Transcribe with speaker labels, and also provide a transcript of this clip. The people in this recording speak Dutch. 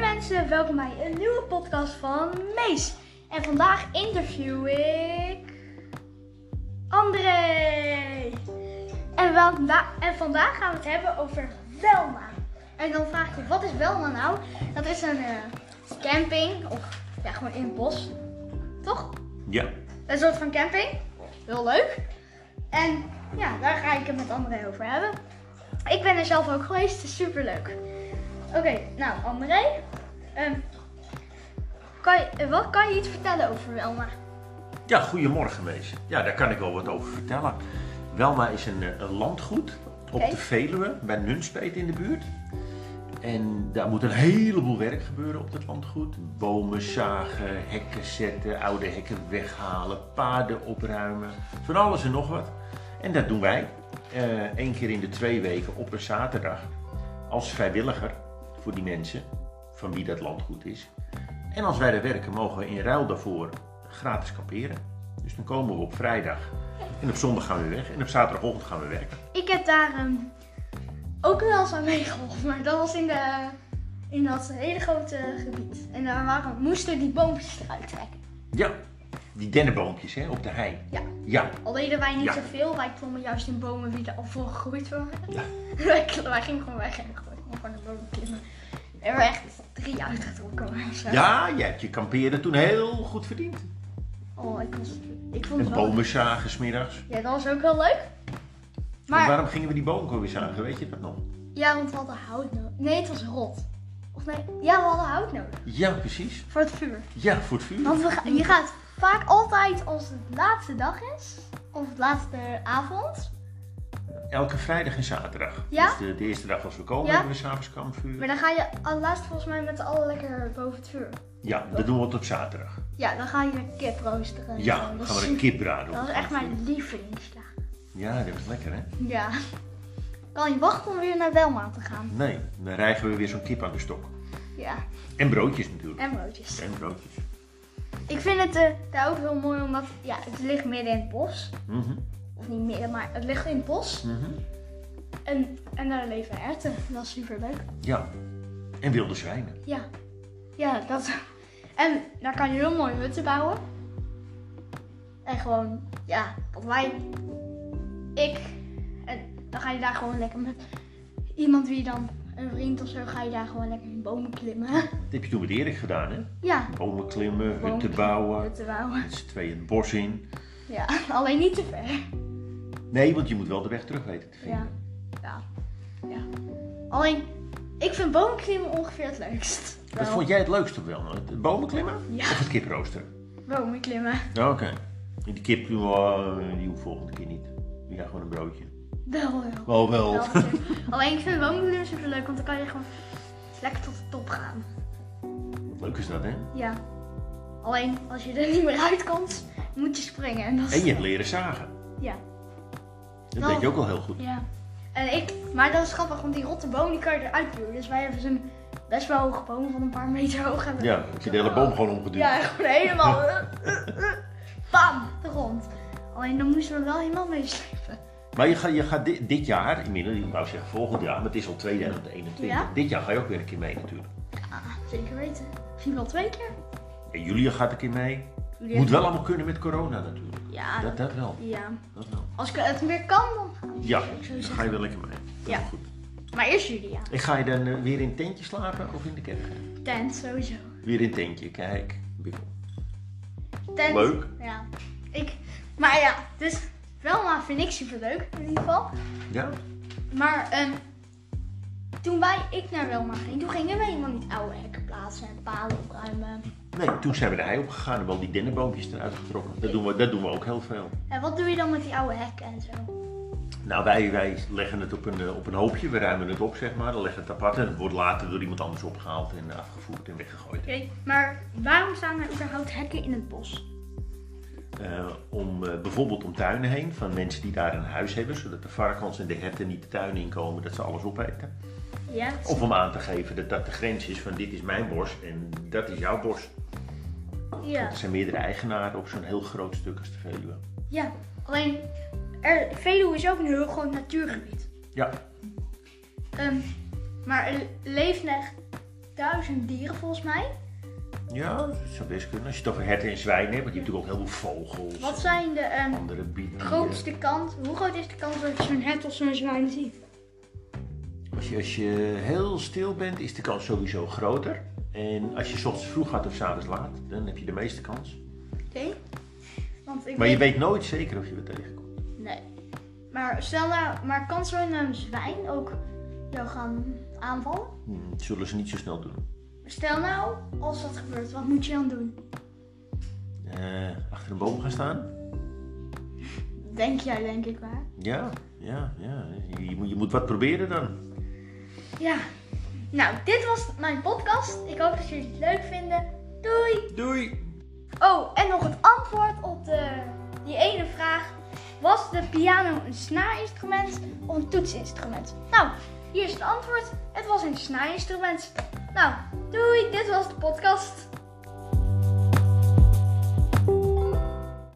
Speaker 1: mensen, welkom bij een nieuwe podcast van Mees. En vandaag interview ik André. En, wanda- en vandaag gaan we het hebben over Welma. En dan vraag je, wat is Welma nou? Dat is een eh, camping, of ja, gewoon in het bos. Toch?
Speaker 2: Ja,
Speaker 1: Een soort van camping. Heel leuk. En ja, daar ga ik het met André over hebben. Ik ben er zelf ook geweest, het is super leuk. Oké, nou André. ehm, kan je, eh, wat kan je iets vertellen over Welma?
Speaker 2: ja goedemorgen wees. Ja, daar kan ik wel wat over vertellen. Welma is een, eh, een landgoed op
Speaker 1: Oké.
Speaker 2: de Veluwe, bij Nunspeet in de buurt. En daar moet een heleboel werk gebeuren op dat landgoed. Bomen zagen, hekken zetten, oude hekken weghalen, paden opruimen. Van alles en nog wat. En dat doen wij. Eén keer in de twee weken op een zaterdag. Als vrijwilliger voor die mensen van wie dat landgoed is. En als wij er werken, mogen we in ruil daarvoor gratis kamperen. Dus dan komen we op vrijdag. En op zondag gaan we weg. En op zaterdagochtend gaan we werken.
Speaker 1: Ik heb daar ehm, ook wel eens aan meegeholpen, maar dat was in, de, in dat hele grote gebied. En daar waren, moesten die boompjes eruit trekken.
Speaker 2: Ja, die dennenboompjes hè, op de hei.
Speaker 1: Ja,
Speaker 2: Ja,
Speaker 1: al deden wij niet
Speaker 2: Ja.
Speaker 1: zoveel, wij klommen juist in bomen die er al voor gegroeid waren.
Speaker 2: ja.
Speaker 1: Wij, wij gingen gewoon weg en gewoon van de boom klimmen. We hebben echt drie uitgetrokken. maar zo.
Speaker 2: ja jij hebt je kamperen toen heel goed verdiend.
Speaker 1: Oh, ik, was, ik vond
Speaker 2: En
Speaker 1: het wel...
Speaker 2: bomen zagen smiddags.
Speaker 1: Ja, dat was ook wel leuk.
Speaker 2: En
Speaker 1: Maar,
Speaker 2: waarom gingen we die bomen weer zagen? Weet je dat nog?
Speaker 1: ja, want we hadden hout nodig. Nee, het was rot. Of nee, ja, we hadden hout nodig.
Speaker 2: Ja, precies.
Speaker 1: Voor het vuur.
Speaker 2: Ja, voor het vuur.
Speaker 1: Want we ga- je gaat vaak altijd als het laatste dag is, of het laatste avond.
Speaker 2: Elke vrijdag en zaterdag.
Speaker 1: Ja?
Speaker 2: Dus de, de eerste dag als we komen,
Speaker 1: Ja.
Speaker 2: hebben we s'avonds kampvuur.
Speaker 1: Maar dan ga je al laatst volgens mij met z'n allen lekker boven het vuur.
Speaker 2: Ja, dat doen we het op zaterdag.
Speaker 1: Ja, dan ga je kip roosteren. en
Speaker 2: Ja,
Speaker 1: zo.
Speaker 2: gaan
Speaker 1: dat,
Speaker 2: we
Speaker 1: is
Speaker 2: een
Speaker 1: super-
Speaker 2: kip raden. op
Speaker 1: dat is
Speaker 2: het
Speaker 1: echt
Speaker 2: kampvuur.
Speaker 1: mijn lievelingsdag.
Speaker 2: Ja, dat was lekker hè.
Speaker 1: Ja. Kan je wachten om weer naar Welma te gaan?
Speaker 2: Nee, dan rijgen we weer zo'n kip aan de stok.
Speaker 1: Ja.
Speaker 2: En broodjes natuurlijk.
Speaker 1: En broodjes.
Speaker 2: En broodjes.
Speaker 1: Ik vind het eh, daar ook heel mooi, omdat ja, het ligt midden in het bos.
Speaker 2: Mhm,
Speaker 1: Of niet midden, maar het ligt in het bos.
Speaker 2: mhm.
Speaker 1: En, en daar leven erwten. Dat is super leuk.
Speaker 2: Ja. En wilde zwijnen.
Speaker 1: Ja. Ja, dat. En daar kan je heel mooi hutten bouwen. En gewoon, ja, wat wij. Ik. En dan ga je daar gewoon lekker met iemand wie dan een vriend of zo, ga je daar gewoon lekker in bomen klimmen.
Speaker 2: Dat heb je toen met Erik gedaan hè.
Speaker 1: Ja.
Speaker 2: Bomen klimmen, hutten
Speaker 1: Bomen-
Speaker 2: bouwen.
Speaker 1: Hutten bouwen.
Speaker 2: Met z'n tweeën het bos in.
Speaker 1: Ja, alleen niet te ver.
Speaker 2: Nee, want je moet wel de weg terug weten te
Speaker 1: Ja.
Speaker 2: vinden.
Speaker 1: Ja. ja. Alleen, ik vind boomklimmen ongeveer het leukst.
Speaker 2: Wat vond jij het leukste wel? nou, Het bomen klimmen?
Speaker 1: Ja.
Speaker 2: Of het kiproosteren?
Speaker 1: Bomenklimmen.
Speaker 2: Oké. En Die kip die, eh, die hoeft volgende keer niet. Die krijgt gewoon een broodje.
Speaker 1: Wel heel. Wel
Speaker 2: Wel wel.
Speaker 1: heel. Alleen, ik vind boomklimmen super leuk, want dan kan je gewoon lekker tot de top gaan.
Speaker 2: Leuk is dat hè.
Speaker 1: Ja. Alleen, als je er niet meer uit komt, moet je springen. En, dat is-
Speaker 2: En je hebt leren zagen.
Speaker 1: Ja.
Speaker 2: Dat
Speaker 1: Nou.
Speaker 2: weet je ook wel heel goed.
Speaker 1: Ja. En ik, maar dat is grappig, want die rotte boom die kan je eruit duwen. Dus wij hebben zo'n best wel hoge boom van een paar meter hoog. En
Speaker 2: Ja, heb je de hele boom gewoon omgeduwd.
Speaker 1: Ja, gewoon helemaal. eh, eh, eh, Bam, de grond. Alleen dan moesten we wel helemaal meeslepen.
Speaker 2: Maar je, ga, je gaat di- dit jaar, inmiddels, ik wou zeggen volgend jaar, maar het is al 2021.
Speaker 1: Ja.
Speaker 2: Dit jaar ga je ook weer een keer mee natuurlijk.
Speaker 1: Ah, zeker weten. Misschien wel twee keer.
Speaker 2: En Julia gaat een keer mee.
Speaker 1: Julia-
Speaker 2: Moet wel allemaal kunnen met corona natuurlijk.
Speaker 1: Ja,
Speaker 2: Dat, dat wel.
Speaker 1: ja.
Speaker 2: Dat wel.
Speaker 1: Als ik het weer kan, dan ga ik.
Speaker 2: Ja,
Speaker 1: zou ik zo
Speaker 2: dan
Speaker 1: zeggen.
Speaker 2: ga je wel lekker mee. Dat
Speaker 1: Ja.
Speaker 2: is goed.
Speaker 1: Maar eerst Julia.
Speaker 2: En ga je dan eh, weer in tentje slapen of in de kerk?
Speaker 1: Tent, sowieso.
Speaker 2: Weer in tentje, kijk. Biffel.
Speaker 1: Tent.
Speaker 2: Leuk.
Speaker 1: Ja. Ik, maar ja, dus wel maar vind ik super leuk in ieder geval.
Speaker 2: Ja?
Speaker 1: Maar ehm, toen wij, ik naar Welma ging, toen gingen we helemaal niet oude hekken plaatsen en palen opruimen.
Speaker 2: Nee, toen zijn we de hei opgegaan en wel die dennenboompjes eruit getrokken. Dat doen we, dat doen we ook heel veel.
Speaker 1: En wat doe je dan met die oude hekken en zo?
Speaker 2: Nou, wij, wij leggen het op een, eh, op een hoopje, we ruimen het op zeg maar, dan leggen we het apart en het wordt later door iemand anders opgehaald en afgevoerd en weggegooid.
Speaker 1: Oké, maar waarom staan er überhaupt hekken in het bos?
Speaker 2: Eh, om eh, bijvoorbeeld om tuinen heen van mensen die daar een huis hebben, zodat de varkens en de herten niet de tuin inkomen, dat ze alles opeten.
Speaker 1: Ja.
Speaker 2: Of om aan te geven dat dat de grens is van dit is mijn bos en dat is jouw bos.
Speaker 1: Ja.
Speaker 2: Er zijn meerdere eigenaren op zo'n heel groot stuk als de Veluwe.
Speaker 1: ja. Alleen, er, Veluwe is ook een heel groot natuurgebied.
Speaker 2: Ja,
Speaker 1: Ehm, maar er leeft echt duizend dieren volgens mij.
Speaker 2: Ja, dat zou best kunnen. Als je het over herten en zwijnen hebt, want je hebt natuurlijk ook heel veel vogels.
Speaker 1: Wat zijn de
Speaker 2: en
Speaker 1: ehm,
Speaker 2: Andere bieden.
Speaker 1: grootste kans, hoe groot is de kans dat je zo'n hert of zo'n zwijn ziet?
Speaker 2: Als je, als je heel stil bent, is de kans sowieso groter. En als je 's ochtends vroeg gaat of 's avonds laat, dan heb je de meeste kans.
Speaker 1: Oké. Want ik
Speaker 2: Maar je weet nooit zeker of je het tegenkomt.
Speaker 1: Nee. Maar stel nou, maar kan zo'n ehm, zwijn ook jou gaan aanvallen?
Speaker 2: Hm, Dat zullen ze niet zo snel doen.
Speaker 1: Stel nou, als dat gebeurt, wat moet je dan doen?
Speaker 2: Eh, achter een boom gaan staan?
Speaker 1: Denk jij, denk ik maar.
Speaker 2: Ja, ja, ja. Je, je moet, je moet wat proberen dan.
Speaker 1: Ja. Nou, dit was mijn podcast. Ik hoop dat jullie het leuk vinden. Doei!
Speaker 2: Doei!
Speaker 1: Oh, en nog het antwoord op de, die ene vraag. Was de piano een snaarinstrument of een toetsinstrument? Nou, hier is het antwoord. Het was een snaarinstrument. Nou, doei! Dit was de podcast.